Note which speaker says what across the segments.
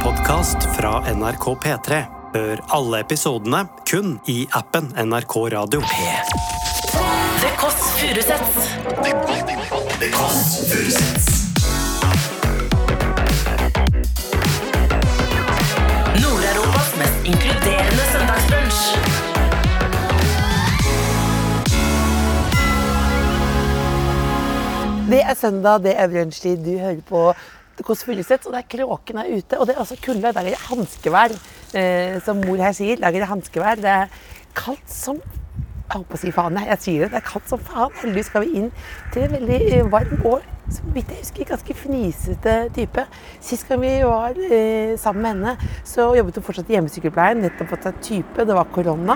Speaker 1: podkast fra NRK P3. Hør alle episodene kun i appen NRK Radio.
Speaker 2: The Kåss Furuseths. Nord-Europas mest inkluderende søndagsbrunsch.
Speaker 3: Det er søndag, det er brunsjtid. Du hører på Kåss Furuseth, og det er kråken er ute. Og det er også kulda. Der er det hanskevær. Eh, som mor her sier, der er det hanskevær. Det er kaldt som Jeg holdt på å si faen, jeg, jeg sier det. Det er kaldt som faen. Heldigvis skal vi inn til en veldig eh, varm år. Som vidt jeg husker, ganske fnisete type. Sist gang vi var eh, sammen med henne, så jobbet hun fortsatt i hjemmesykepleien. Nettopp fått seg type. Det var korona.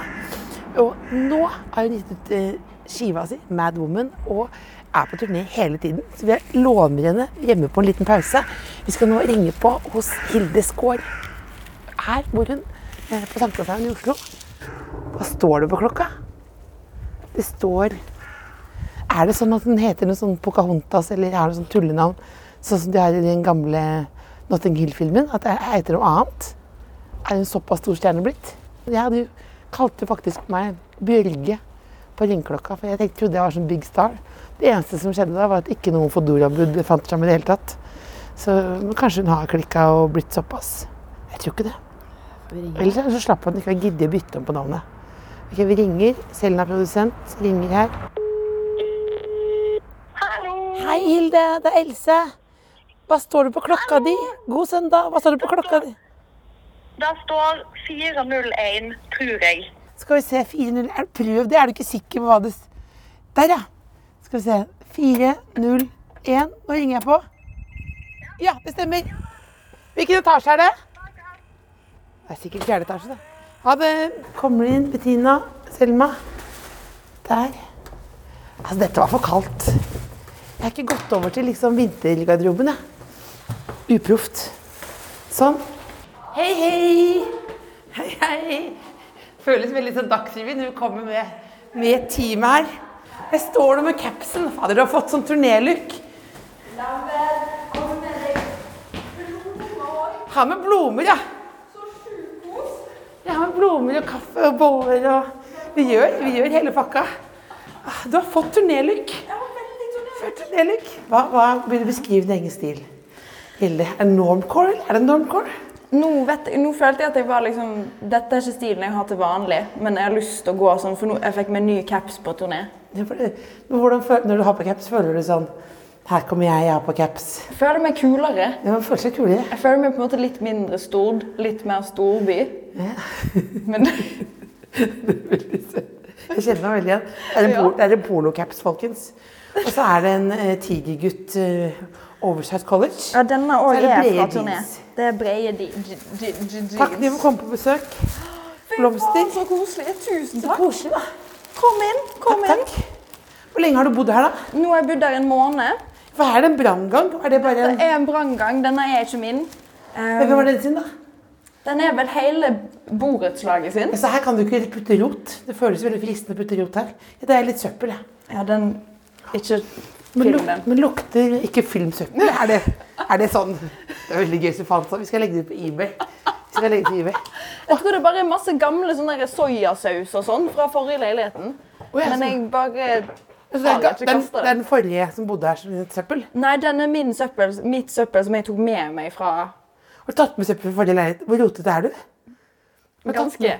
Speaker 3: Og nå har hun gitt ut eh, skiva si, Mad Woman, og er på turné hele tiden. Så vi låner henne hjemme på en liten pause. Vi skal nå ringe på hos Hilde Skår. Her bor hun, eh, på Sankthanshaugen i Oslo. Hva står det på klokka? Det står Er det sånn at den heter noe sånn Pocahontas, eller er det sånn tullenavn? Sånn som de har i den gamle Notting Hill-filmen? At det heter noe annet? Er hun såpass stor stjerne blitt? Jeg hadde jo kalte faktisk meg Bjørge på ringeklokka, for jeg tenkte, trodde jeg var sånn Big Star. Det eneste som skjedde da, var at ikke noen Fodora-brudd fant fram i det hele tatt. Så men kanskje hun har klikka og blitt såpass. Jeg tror ikke det. Eller så slapp han ikke å gidde å bytte om på navnet. Ok, Vi ringer. Selna produsent ringer her. Hei, Hilde. Det er Else. Hva står det på klokka di? God søndag. Hva står det på klokka di?
Speaker 4: Det står 401, tror jeg.
Speaker 3: Skal vi se 4-0 Er- Prøv det, er du ikke sikker på hva det s- Der, ja. Skal vi se 4-0-1. Nå ringer jeg på. Ja, det stemmer. Hvilken etasje er det? Det er sikkert fjerde etasje, det. Ha det. Kommer det inn Bettina, Selma. Der. Altså, dette var for kaldt. Jeg er ikke gått over til liksom vintergarderoben, jeg. Uproft. Sånn. Hei, hei. Hei, hei føles veldig sånn Dagsrevyen. Hun kommer med, med et team her. Her står du med capsen. Fader, du har fått sånn turnélook. Har med blomster, ja. Jeg har med blomster og kaffe og boller og Vi gjør, vi gjør hele pakka. Ah, Du har fått turnélook. Fått turnélook. Hva, hva vil du beskrive din egen stil? Hilde, er det normcore? eller Er det normcore?
Speaker 5: Nå, vet, jeg- nå følte jeg at jeg var liksom Dette er ikke stilen jeg har til vanlig, men jeg har lyst til å gå sånn, for nå jeg fikk meg ny caps på turné.
Speaker 3: Ja, for det- Men hvordan føler, når du har på caps, føler du sånn Her kommer jeg, jeg har på caps.
Speaker 5: Jeg føler meg kulere.
Speaker 3: Ja, man føler seg kulere.
Speaker 5: Jeg føler meg på en måte litt mindre Stord, litt mer storby. Men
Speaker 3: Jeg kjenner meg veldig igjen. Det er en, por det er en pornocaps, folkens. Og så er det en eh, tigergutt eh, Oversight College.
Speaker 5: ja, denne
Speaker 3: Så
Speaker 5: òg
Speaker 3: det
Speaker 5: er, fra
Speaker 3: brede
Speaker 5: turné.
Speaker 3: jeans.
Speaker 5: Det er brede de- je- je- je- jeans.
Speaker 3: Takk, du må komme på besøk. Blomster.
Speaker 5: Å, Så koselig. Tusen takk.
Speaker 3: Koselig, da.
Speaker 5: Kom inn. kom inn.
Speaker 3: Takk. Hvor lenge har du bodd her, da?
Speaker 5: Nå har jeg bodd her en måned.
Speaker 3: For her er det en branngang. Er det bare
Speaker 5: Det
Speaker 3: en
Speaker 5: er en branngang. Denne er ikke min.
Speaker 3: Men Hvem var den sin, da?
Speaker 5: Den er vel hele borettslaget sin.
Speaker 3: Altså, her kan du ikke putte rot. Det føles veldig fristende å putte rot her. Ja, Det er litt søppel, jeg.
Speaker 5: Ja, den Ikke
Speaker 3: Men,
Speaker 5: film
Speaker 3: luk
Speaker 5: den.
Speaker 3: men lukter ikke filmsøppel? Er det, er det sånn? Det er veldig gøy som faen. sånn. Vi skal legge det ut på eBay. Vi skal legge det ut på eBay.
Speaker 5: Jeg tror det bare er masse gamle sånne der soyasaus og sånn fra forrige leiligheten.
Speaker 3: Å, ja,
Speaker 5: Men jeg bare
Speaker 3: Så det, er,
Speaker 5: faen, jeg
Speaker 3: ga-
Speaker 5: tror
Speaker 3: den,
Speaker 5: kaster
Speaker 3: det er den forrige som bodde her som et søppel.
Speaker 5: Nei, den er min søppel, mitt søppel som jeg tok med meg fra
Speaker 3: Har du tatt med søppel fra forrige leilighet? Hvor rotete er du? Har du tatt
Speaker 5: ganske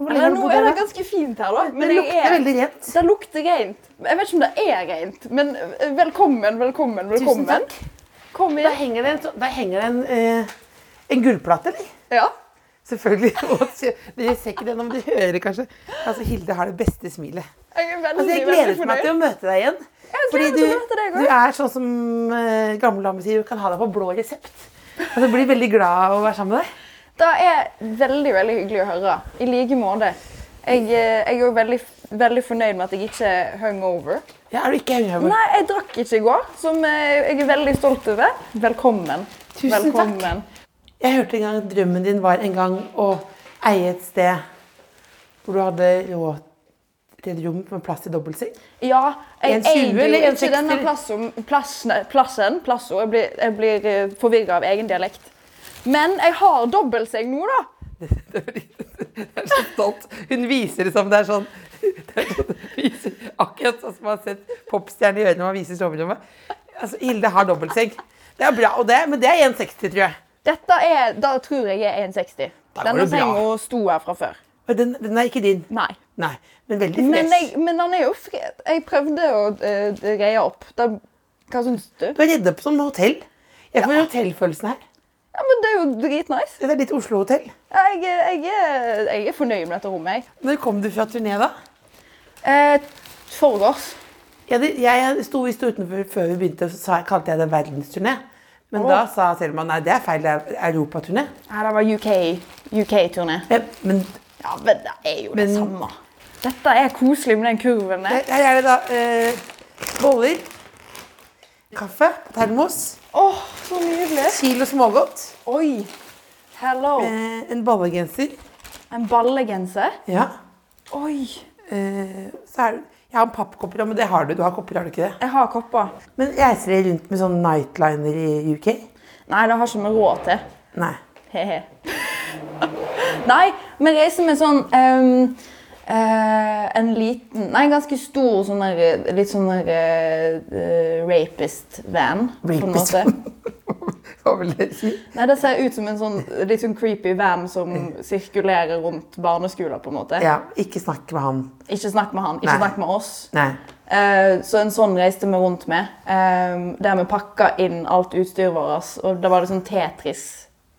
Speaker 3: Hvor lenge
Speaker 5: Eller
Speaker 3: har du
Speaker 5: nå
Speaker 3: bodd
Speaker 5: er
Speaker 3: her?
Speaker 5: det
Speaker 3: da?
Speaker 5: ganske fint her, da.
Speaker 3: Det lukter veldig rent.
Speaker 5: Det lukter rent. Jeg vet ikke om det er rent, men eh, velkommen, velkommen, velkommen.
Speaker 3: Tusen takk.
Speaker 5: Kom
Speaker 3: Der
Speaker 5: inn.
Speaker 3: henger det en, så- der henger det en, eh, en gullplate, eller?
Speaker 5: Ja.
Speaker 3: Selvfølgelig. Og se- Dere ser ikke det nå, men dere hører kanskje. Altså, Hilde har det beste smilet.
Speaker 5: Jeg er veldig,
Speaker 3: Altså, jeg
Speaker 5: veldig
Speaker 3: gleder meg til å møte deg igjen.
Speaker 5: Jeg
Speaker 3: Fordi du,
Speaker 5: gleder meg til å møte deg
Speaker 3: du
Speaker 5: òg.
Speaker 3: er sånn som eh, gamle damer sier, du kan ha deg på blå resept. Altså, jeg blir veldig glad av å være sammen med deg.
Speaker 5: Det er veldig veldig hyggelig å høre. I like måte. Jeg, eh, jeg er jo veldig, veldig fornøyd med at jeg ikke er hungover.
Speaker 3: Ja, er du ikke hungover?
Speaker 5: Nei, jeg drakk ikke i går, som eh, jeg er veldig stolt over. Velkommen.
Speaker 3: Tusen takk.
Speaker 5: Velkommen. takk.
Speaker 3: Jeg hørte en gang at drømmen din var en gang å eie et sted hvor du hadde råd til et rom med plass til dobbeltseng.
Speaker 5: Ja, jeg
Speaker 3: 1,20
Speaker 5: eier
Speaker 3: eller
Speaker 5: jo ikke
Speaker 3: 1,60?
Speaker 5: denne plassen, plassen, plassen, plassen. Jeg blir, jeg blir forvirra av eh, egen dialekt. Men jeg har dobbeltseng nå, da.
Speaker 3: Jeg er så stolt. Hun viser det som det er sånn det er sånn- viser, Akkurat sånn som man har sett popstjerner gjøre når man viser soverommet. Altså, Hilde har dobbeltseng. Det er bra, og det, men det er 1,60, tror jeg.
Speaker 5: Dette er, Da tror jeg er 1,60.
Speaker 3: Da går
Speaker 5: Denne
Speaker 3: det bra.
Speaker 5: senga sto her fra før.
Speaker 3: Og den, den er ikke din.
Speaker 5: Nei.
Speaker 3: Nei, men veldig fresh.
Speaker 5: Men, jeg, men den er jo fri. Jeg prøvde å eh, greie opp. Da, hva syns du?
Speaker 3: Du er redda på som hotell. Jeg får hotellfølelsen her.
Speaker 5: Ja, men Det er jo dritnice.
Speaker 3: Det er litt Oslo-hotell.
Speaker 5: Jeg, jeg, er, jeg er fornøyd med dette rommet, jeg.
Speaker 3: Når kom du fra turné, da?
Speaker 5: Eh, Forgårs.
Speaker 3: Jeg, jeg sto, vi sto utenfor før vi begynte, så sa, kalte jeg det verdensturné. Men da sa Selma nei, det er feil, det er europaturné.
Speaker 5: Ja, det var UK- UK-turné.
Speaker 3: Men, men
Speaker 5: ja, men det er jo
Speaker 3: Men-
Speaker 5: det samme. Dette er koselig med den kurven der.
Speaker 3: her er det da eh, boller, kaffe på termos,
Speaker 5: Åh, så nydelig.
Speaker 3: kilo smågodt,
Speaker 5: Oi. Hello.
Speaker 3: eh, en ballegenser.
Speaker 5: En ballegenser.
Speaker 3: Ja.
Speaker 5: Oi.
Speaker 3: Eh, så er, det- jeg har en pappkopper, ja, men det har du. Du har kopper, har du ikke det?
Speaker 5: Jeg har kopper.
Speaker 3: Men reiser dere rundt med sånn nightliner i UK?
Speaker 5: Nei, det har ikke vi råd til.
Speaker 3: Nei.
Speaker 5: Hehe. Nei, vi reiser med sånn ehm, eh, en liten, nei, en ganske stor sånn der, litt sånn der eh, rapist-van. på en
Speaker 3: Rapist.
Speaker 5: måte.
Speaker 3: sånn. Hva vil det si?
Speaker 5: Nei, det ser ut som en sånn litt sånn creepy van som sirkulerer rundt barneskoler, på en måte.
Speaker 3: Mm. Ja, ikke snakk med han.
Speaker 5: Ikke snakk med han, ikke
Speaker 3: Nei.
Speaker 5: snakk med oss.
Speaker 3: Nei.
Speaker 5: Eh, Så en sånn reiste vi rundt med. eh, Der vi pakka inn alt utstyret vårt. Og da var det sånn Tetris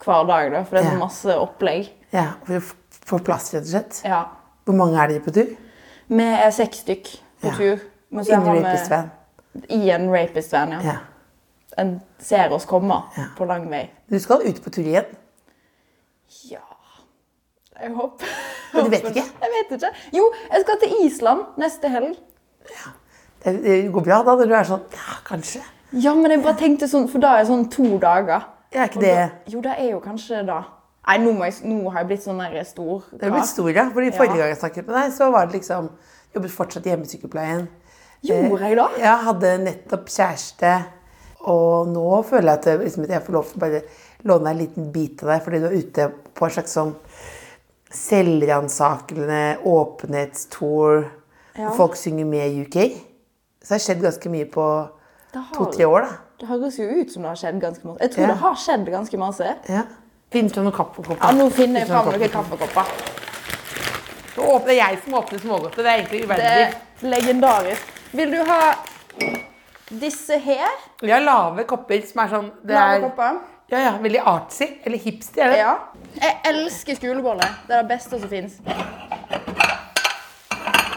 Speaker 5: hver dag, da, for det er
Speaker 3: Ja.
Speaker 5: så masse opplegg.
Speaker 3: Ja, for å f- få plass, rett og slett.
Speaker 5: Ja.
Speaker 3: Hvor mange er dere på tur?
Speaker 5: Vi er seks stykk på
Speaker 3: Ja.
Speaker 5: tur. Men så
Speaker 3: Inni
Speaker 5: har vi-
Speaker 3: rapist-van.
Speaker 5: I en rapist-van, ja.
Speaker 3: Ja.
Speaker 5: En ser oss komme
Speaker 3: Ja.
Speaker 5: på lang vei.
Speaker 3: Du skal ut på tur igjen.
Speaker 5: Ja Jeg håper
Speaker 3: Men du vet ikke?
Speaker 5: Jeg vet ikke. Jo, jeg skal til Island neste helg.
Speaker 3: Det, det går bra da, når du er sånn Ja, kanskje.
Speaker 5: Ja, men jeg bare tenkte sånn, for da er jeg sånn to dager.
Speaker 3: Jeg er ikke
Speaker 5: Og
Speaker 3: det
Speaker 5: da- Jo, det er jo kanskje det, da. Nei, nå, må jeg, nå har jeg blitt sånn der stor.
Speaker 3: Det er blitt stor, ja. Fordi forrige gang jeg snakket med deg, så var det liksom Jobbet fortsatt i hjemmesykepleien.
Speaker 5: Gjorde jeg da?
Speaker 3: Ja, Eh, hadde nettopp kjæreste. Og nå føler jeg at, det- liksom, at jeg får lov til å bare låne en liten bit av deg, fordi du er ute på en slags sånn selvransakende åpenhetstour.
Speaker 5: Ja.
Speaker 3: Folk synger med i UK. Så det har skjedd ganske mye på
Speaker 5: Det har-
Speaker 3: to-tre år, da.
Speaker 5: Det høres jo ut som det har skjedd ganske masse. Jeg tror
Speaker 3: Ja.
Speaker 5: det har skjedd ganske masse.
Speaker 3: Ja. Finn fram noen kaffekopper.
Speaker 5: Ja, nå finner jeg
Speaker 3: Finn
Speaker 5: fram
Speaker 3: fram
Speaker 5: noen kaffekopper.
Speaker 3: Så åpner jeg som åpner smågodtet. Det er egentlig
Speaker 5: Det
Speaker 3: uverdig.
Speaker 5: er legendarisk. Vil du ha disse her?
Speaker 3: Vi har lave kopper som er sånn det
Speaker 5: Lave
Speaker 3: er,
Speaker 5: kopper?
Speaker 3: ja, ja, Veldig artsy. Eller hipster. Er det?
Speaker 5: Ja. Jeg elsker skoleboller. Det er det beste som fins.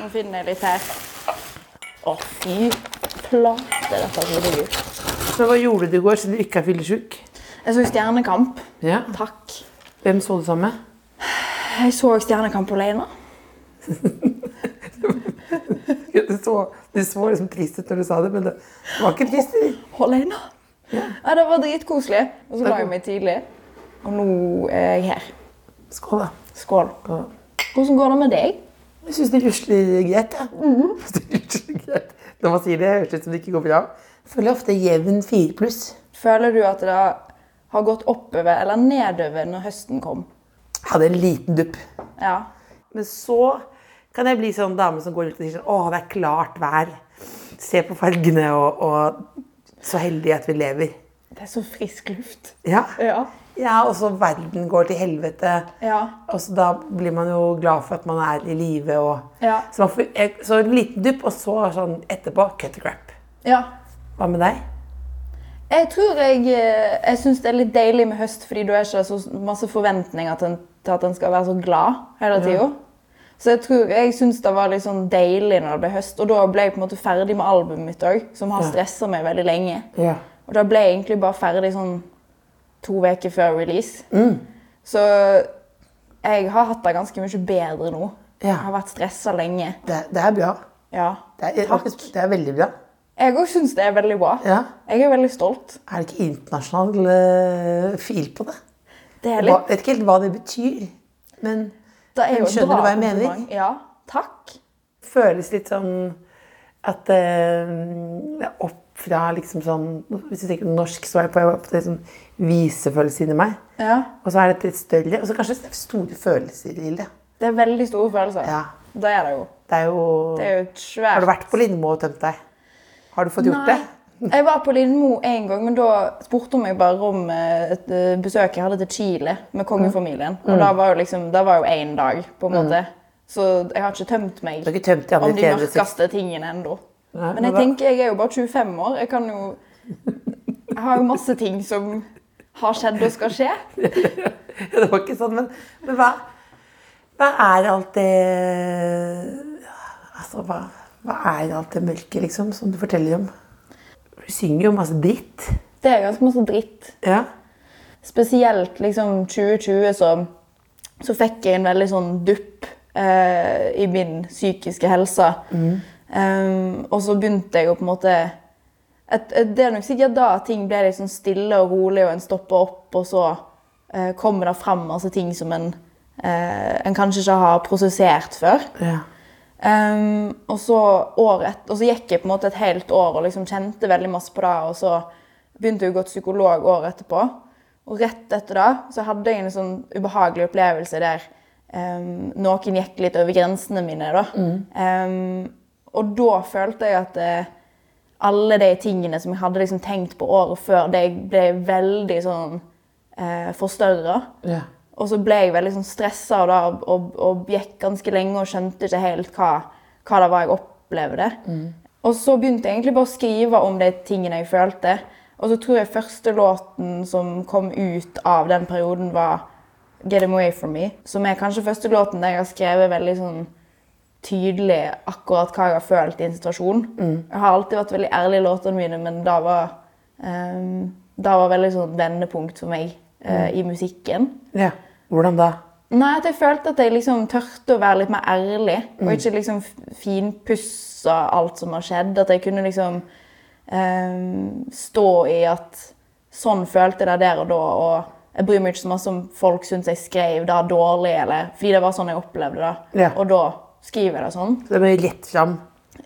Speaker 5: Nå finner jeg litt her. Å, fy flate, dette er så digg.
Speaker 3: Men hva gjorde du i går siden du ikke er fyllesyk?
Speaker 5: Jeg så Stjernekamp.
Speaker 3: Ja.
Speaker 5: Takk.
Speaker 3: Hvem så du sammen med?
Speaker 5: Jeg så Stjernekamp alene.
Speaker 3: Du så, du så liksom trist ut når du sa det, men det var ikke trist. eller?
Speaker 5: alene. Ja, det var dritkoselig. Og så
Speaker 3: Det er
Speaker 5: la jeg
Speaker 3: god.
Speaker 5: meg tidlig. Og nå er jeg her.
Speaker 3: Skål, da.
Speaker 5: Skål.
Speaker 3: Skål.
Speaker 5: Hvordan går det med deg?
Speaker 3: Jeg syns det rusler greit. Ja. Det rusler greit. Når man sier det, høres det ut som det ikke går bra. Føler jeg ofte jevn fire pluss.
Speaker 5: Føler du at det har gått oppover eller nedover når høsten kom?
Speaker 3: Jeg Hadde en liten dupp.
Speaker 5: Ja.
Speaker 3: Men så kan jeg bli sånn dame som går rundt og sier sånn, åh, det er klart vær. Se på fargene, og, og så heldig at vi lever.
Speaker 5: Det er så frisk luft.
Speaker 3: Ja.
Speaker 5: Ja.
Speaker 3: ja, og så verden går til helvete.
Speaker 5: Ja.
Speaker 3: Og så da blir man jo glad for at man er i live. og-
Speaker 5: Ja.
Speaker 3: Så, man får, jeg- så en liten dupp, og så sånn etterpå cut the crap.
Speaker 5: ja.
Speaker 3: Hva med deg?
Speaker 5: Jeg tror jeg, eh, jeg syns det er litt deilig med høst, fordi du er ikke så masse forventninger til, en- til at en skal være så glad hele tida. Så jeg tror jeg syns det var litt sånn deilig når det ble høst. Og da ble jeg på en måte ferdig med albumet mitt òg, som har
Speaker 3: Ja.
Speaker 5: stressa meg veldig lenge.
Speaker 3: Ja.
Speaker 5: Og da ble jeg egentlig bare ferdig sånn to uker før release.
Speaker 3: Mm.
Speaker 5: Så jeg har hatt det ganske mye bedre nå.
Speaker 3: Ja.
Speaker 5: Jeg har vært stressa lenge.
Speaker 3: Det, det er bra.
Speaker 5: Ja.
Speaker 3: Det er,
Speaker 5: Takk.
Speaker 3: det er veldig bra.
Speaker 5: Jeg òg syns det er veldig bra.
Speaker 3: Ja.
Speaker 5: Jeg er veldig stolt.
Speaker 3: Er det ikke internasjonal eh, fil på det?
Speaker 5: Det er
Speaker 3: Jeg
Speaker 5: litt
Speaker 3: vet ikke helt hva det betyr, men
Speaker 5: det er
Speaker 3: Men
Speaker 5: jo et
Speaker 3: skjønner
Speaker 5: bra
Speaker 3: du hva jeg mener?
Speaker 5: kompliment. Ja. Takk.
Speaker 3: føles litt sånn at eh, det er opp fra liksom sånn Hvis du tenker norsk, så er det på opp til sånn visefølelse inni meg.
Speaker 5: Ja.
Speaker 3: Og så er det et litt større Og så kanskje det er store følelser i det.
Speaker 5: Det er veldig store følelser.
Speaker 3: Ja.
Speaker 5: Det er det jo.
Speaker 3: Det er jo,
Speaker 5: Det er jo et svært
Speaker 3: Har du vært på Lindmo og tømt deg? Har du fått gjort det?
Speaker 5: Nei. Jeg var på Lindmo en gang, men da spurte hun meg bare om eh, et eh, besøk jeg hadde til Chile med kongefamilien.
Speaker 3: Mm.
Speaker 5: Og da var jo liksom, da var jo én dag, på en måte. Så jeg har ikke tømt meg
Speaker 3: Du har ikke tømt de andre
Speaker 5: om de
Speaker 3: tjenene sine.
Speaker 5: mørkeste tingene ennå.
Speaker 3: Nei,
Speaker 5: Men
Speaker 3: men
Speaker 5: jeg
Speaker 3: da-
Speaker 5: tenker, jeg er jo bare 25 år. Jeg kan jo Jeg har jo masse ting som har skjedd og skal skje.
Speaker 3: Ja, det var ikke sånn, men, men hva, hva er alt det Altså, hva, hva er alt det mørke, liksom, som du forteller om? Du synger jo masse dritt.
Speaker 5: Det er ganske masse dritt.
Speaker 3: Ja.
Speaker 5: spesielt liksom 2020 så, så fikk jeg en veldig sånn dupp eh, i min psykiske helse. Um, og så begynte jeg å på en måte et, et, Det er nok sikkert da ting ble liksom stille og rolig, og en stopper opp, og så eh, kommer det fram masse ting som en, eh, en kanskje ikke har prosessert før.
Speaker 3: ja.
Speaker 5: Um, og, så året, og så gikk jeg på en måte et helt år og liksom kjente veldig masse på det. Og så begynte jeg å gå til psykolog året etterpå. Og rett etter det så hadde jeg en sånn ubehagelig opplevelse der um, noen gikk litt over grensene mine. da. Um, og da følte jeg at eh, alle de tingene som jeg hadde liksom tenkt på året før, de ble veldig sånn uh, forstørra.
Speaker 3: Ja.
Speaker 5: Og så ble jeg veldig sånn stressa og, da- og, og gikk ganske lenge og skjønte ikke helt hva, hva det var jeg opplevde. Og så begynte jeg egentlig bare å skrive om de tingene jeg følte. Og så tror jeg første låten som kom ut av den perioden, var 'Get Them Away From Me'. Som er kanskje første låten der jeg har skrevet veldig sånn tydelig akkurat hva jeg har følt i en situasjon. Jeg har alltid vært veldig ærlig i låtene mine, men da var, um, da var veldig sånn vendepunkt for meg eh, i musikken.
Speaker 3: ja. Hvordan da?
Speaker 5: Nei, at jeg følte at jeg liksom tørte å være litt mer ærlig. Og ikke liksom f- finpussa alt som har skjedd. At jeg kunne liksom ehm, stå i at sånn følte jeg det der og da. Og jeg bryr meg ikke så masse om folk syns jeg skrev det dårlig, eller fordi det var sånn jeg opplevde det.
Speaker 3: Ja.
Speaker 5: Og da skriver jeg det sånn.
Speaker 3: Så det ble rett fram.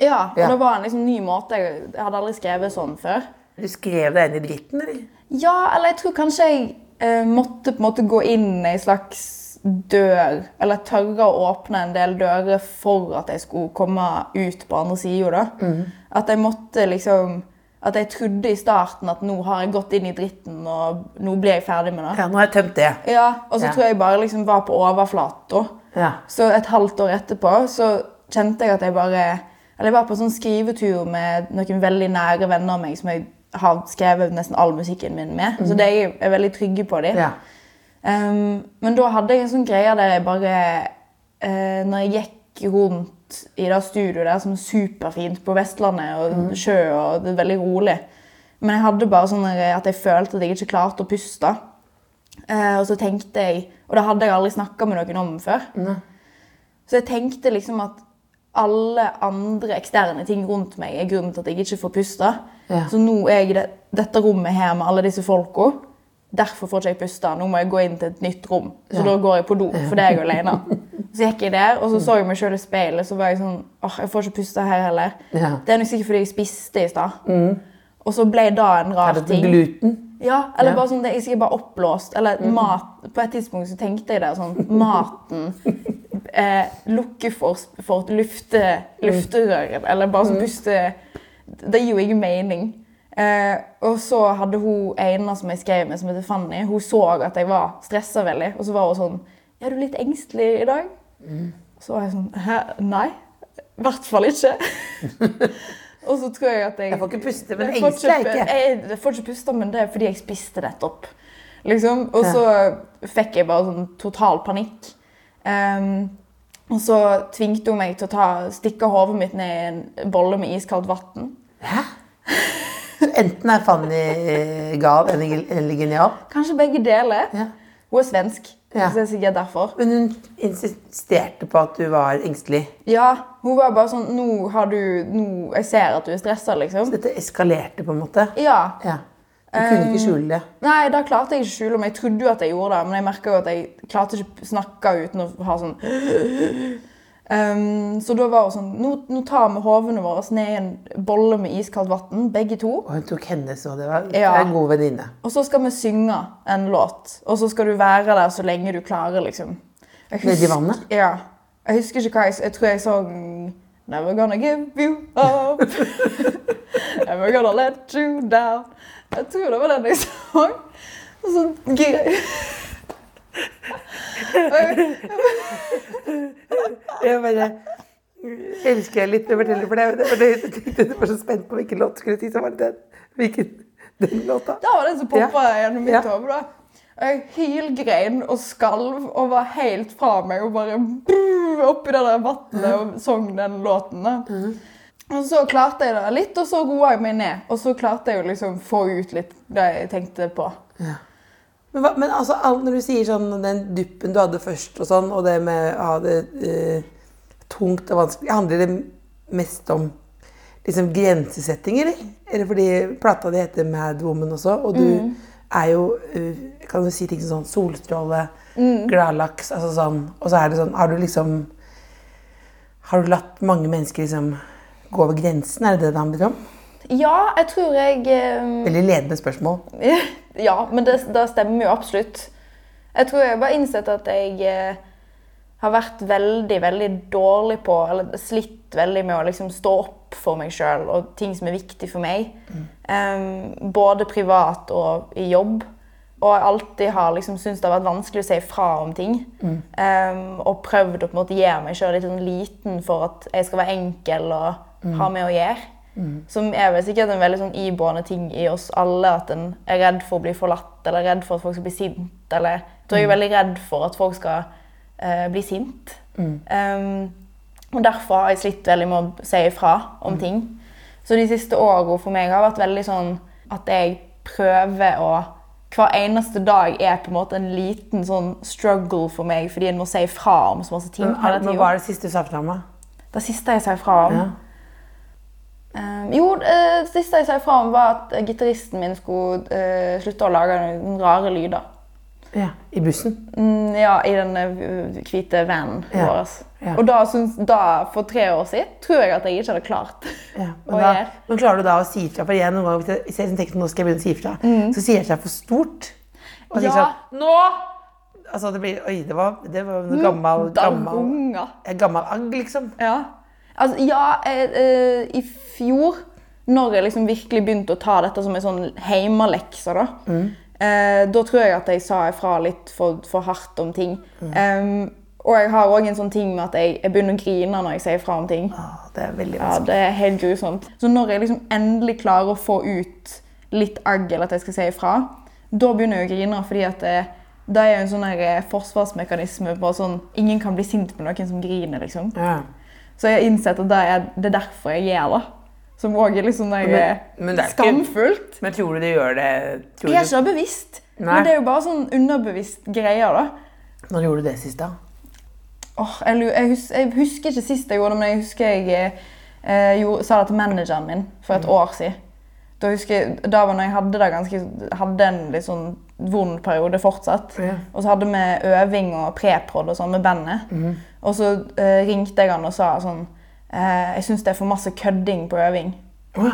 Speaker 5: Ja, og
Speaker 3: Ja.
Speaker 5: det var en liksom ny måte. Jeg, jeg hadde aldri skrevet sånn før.
Speaker 3: Du skrev deg inn i dritten, eller?
Speaker 5: Ja, eller jeg tror kanskje jeg eh, måtte på en måte gå inn ei slags dør, eller tørre å åpne en del dører for at jeg skulle komme ut på andre sida, da.
Speaker 3: Mm.
Speaker 5: At jeg måtte liksom At jeg trodde i starten at nå har jeg gått inn i dritten, og nå blir jeg ferdig med det.
Speaker 3: Ja, nå har jeg tømt det.
Speaker 5: Ja, og så
Speaker 3: Ja.
Speaker 5: tror jeg bare liksom var på overflata.
Speaker 3: Ja.
Speaker 5: Så et halvt år etterpå så kjente jeg at jeg bare Eller jeg var på en sånn skrivetur med noen veldig nære venner av meg som jeg har skrevet nesten all musikken min med. Så det er jeg er veldig trygge på dem.
Speaker 3: Ja.
Speaker 5: men da hadde jeg en sånn greie der jeg bare eh, Når jeg gikk rundt i det studioet der som er superfint på Vestlandet og sjø og det er veldig rolig Men jeg hadde bare sånn der at jeg følte at jeg ikke klarte å puste. Eh, og så tenkte jeg, og det hadde jeg aldri snakka med noen om før. Så jeg tenkte liksom at alle andre eksterne ting rundt meg er grunnen til at jeg ikke får puste.
Speaker 3: Ja.
Speaker 5: Så nå er jeg i det, dette rommet her med alle disse folka. Derfor får ikke jeg puste. Nå må jeg gå inn til et nytt rom. Så da går jeg på do, for det er jeg alene. Så gikk jeg der, og så så jeg meg sjøl i speilet, så var jeg sånn åh, jeg får ikke puste her heller.
Speaker 3: Ja. Mm.
Speaker 5: Det er nok sikkert fordi jeg spiste i stad. Og så ble da en rar
Speaker 3: Er det
Speaker 5: ting.
Speaker 3: gluten?
Speaker 5: Ja, eller
Speaker 3: Ja.
Speaker 5: bare sånn, det- jeg sikkert bare oppblåst. Eller mat, på et tidspunkt så tenkte jeg det sånn, maten eh, lukker for, for lufte,
Speaker 3: Mm.
Speaker 5: lufterøret, eller bare sånn puste, det gir jo ikke mening. Eh, og så hadde hun ene som jeg skrev med som heter Fanny, hun så at jeg var stresset veldig, og så var hun sånn, er du litt engstelig i dag?
Speaker 3: Mm.
Speaker 5: Så var jeg sånn, hæ, nei, i hvert fall ikke. og så tror jeg at jeg...
Speaker 3: Jeg får ikke puste, men
Speaker 5: Jeg får
Speaker 3: engstelig er jeg
Speaker 5: ikke-
Speaker 3: ikke.
Speaker 5: Jeg, jeg får ikke puste, men det er fordi jeg spiste nettopp. Liksom. Og
Speaker 3: Ja.
Speaker 5: så fikk jeg bare sånn total panikk. Ehm, og så tvingte hun meg til å ta, stikke hodet mitt ned i en bolle med iskaldt vann.
Speaker 3: Hæ? Så enten er Fanny eh, gal eller eller genial.
Speaker 5: Kanskje begge deler.
Speaker 3: Ja.
Speaker 5: Hun er svensk,
Speaker 3: Ja.
Speaker 5: så det er sikkert derfor.
Speaker 3: Men hun insisterte på at du var engstelig.
Speaker 5: Ja, Hun var bare sånn Nå har du nå, Jeg ser at du er stressa, liksom.
Speaker 3: Dette eskalerte på en måte.
Speaker 5: Ja.
Speaker 3: Ja. Um. Du kunne ikke skjule det.
Speaker 5: Nei, da klarte jeg ikke å skjule meg. Jeg trodde jo at jeg gjorde det, men jeg merket jo at jeg klarte ikke å snakke uten å ha sånn Ehm, så da var hun sånn Nå, nå tar vi hovene våre ned i en bolle med iskaldt vann, begge to.
Speaker 3: Og hun tok hennes, og det var det
Speaker 5: Ja.
Speaker 3: er en god venninne.
Speaker 5: Og så skal vi synge en låt. Og så skal du være der så lenge du klarer, liksom. Jeg
Speaker 3: Nedi vannet?
Speaker 5: Ja. Jeg husker ikke hva jeg Jeg tror jeg sang Never gonna give you up. Never gonna let you down. Jeg tror det var den jeg sang. Og så gir jeg
Speaker 3: Jeg bare elsker jeg litt når jeg forteller for deg. Det var det jeg tenkte, jeg var så spent på hvilken låt du skulle si, så var det den. Hvilken den låta?
Speaker 5: Da var det den som poppa gjennom mitt
Speaker 3: Ja.
Speaker 5: hode. da. Og jeg hylgrein og skalv og var helt fra meg og bare brrr, oppi det der vannet og sang den låten. da. Og så klarte jeg det litt, og så roa jeg meg ned. Og så klarte jeg å liksom få ut litt det jeg tenkte på.
Speaker 3: Men, hva, men altså, alt når du sier sånn den duppen du hadde først og sånn, og det med å ha det eh, tungt og vanskelig, handler det mest om liksom grensesetting, eller? Eller fordi plata di heter Mad Woman også, og du er jo eh, Kan du si ting som sånn solstråle, gladlaks, altså sånn, og så er det sånn Har du liksom Har du latt mange mennesker liksom gå over grensen? Er det det det handler om?
Speaker 5: Ja, jeg tror jeg eh,
Speaker 3: Veldig ledende spørsmål.
Speaker 5: Ja, men det, det stemmer jo absolutt. Jeg tror jeg har bare innsett at jeg eh, har vært veldig, veldig dårlig på, eller slitt veldig med å liksom stå opp for meg sjøl og ting som er viktig for meg. Em, både privat og i jobb. Og jeg alltid har liksom syntes det har vært vanskelig å si fra om ting. Em, og prøvd å på en måte gjøre meg sjøl litt sånn liten for at jeg skal være enkel og ha med å gjøre. Som er vel sikkert en veldig sånn iboende ting i oss alle. At en er redd for å bli forlatt, eller redd for at folk skal bli sint. Eller, jeg tror jeg er veldig redd for at folk skal eh, bli sint.
Speaker 3: Mm.
Speaker 5: Em, og derfor har jeg slitt veldig med å si ifra om
Speaker 3: Mm.
Speaker 5: ting. Så de siste årene for meg har vært veldig sånn at jeg prøver å Hver eneste dag er på en måte en liten sånn struggle for meg, fordi en må si ifra om så masse ting.
Speaker 3: Men,
Speaker 5: hele tiden.
Speaker 3: men hva er det siste du sa fra meg?
Speaker 5: Det siste jeg sa ifra om
Speaker 3: Ja.
Speaker 5: Ehm, Jo, eh, det siste jeg sa ifra om, var at eh, gitaristen min skulle eh, slutte å lage noen rare lyder.
Speaker 3: Ja, I bussen?
Speaker 5: Mm, ja, i den eh, hvite vanen
Speaker 3: Ja,
Speaker 5: vår.
Speaker 3: ja.
Speaker 5: Og da, syns- da, for tre år siden, tror jeg at jeg ikke hadde klart.
Speaker 3: Ja,
Speaker 5: Og
Speaker 3: men, da,
Speaker 5: jeg-
Speaker 3: men klarer du da å si ifra? For jeg noen ganger, hvis jeg, hvis jeg tenker at nå skal jeg begynne å si ifra, så sier jeg seg for stort. Og sier
Speaker 5: Mm. Ja,
Speaker 3: sånn Nå! Altså, det blir Oi, det var, det var
Speaker 5: Mm,
Speaker 3: en gammel,
Speaker 5: Da
Speaker 3: gammel,
Speaker 5: unger.
Speaker 3: eh, gammel agg, liksom.
Speaker 5: Ja. Altså, ja, jeg, eh, i fjor, når jeg liksom virkelig begynte å ta dette som en sånn heimelekse, da,
Speaker 3: Mm.
Speaker 5: eh, da tror jeg at jeg sa ifra litt for, for hardt om ting.
Speaker 3: Mm.
Speaker 5: Em, og jeg har òg en sånn ting med at jeg, jeg begynner å grine når jeg sier ifra om ting.
Speaker 3: Å, det er veldig
Speaker 5: Ja,
Speaker 3: vanskelig.
Speaker 5: det er helt grusomt. Så når jeg liksom endelig klarer å få ut litt agg, eller at jeg skal si ifra, da begynner jeg å grine, fordi at det, det er jo en sånn her, eh, forsvarsmekanisme på sånn Ingen kan bli sint på noen som griner, liksom.
Speaker 3: Ja.
Speaker 5: Så jeg har innsett at det er, det er derfor jeg gjør det. Som òg er litt sånn der,
Speaker 3: Men- men det er ikke-
Speaker 5: skamfullt.
Speaker 3: Men tror du du gjør det tror
Speaker 5: Jeg er
Speaker 3: du,
Speaker 5: ikke det bevisst,
Speaker 3: Nei.
Speaker 5: men det er jo bare sånn underbevisst greier, da.
Speaker 3: Når gjorde du det sist, da?
Speaker 5: Åh, jeg, lu- jeg, hus, jeg husker ikke sist jeg gjorde det, men jeg husker jeg eh, eh, gjorde, sa det til manageren min for et år siden. Da husker jeg, da var når jeg hadde, det ganske, hadde en litt sånn vond periode fortsatt.
Speaker 3: Ja.
Speaker 5: Og så hadde vi øving og preprod og sånn med bandet. Og så eh, ringte jeg han og sa sånn eh, Jeg syns det er for masse kødding på øving.
Speaker 3: Å,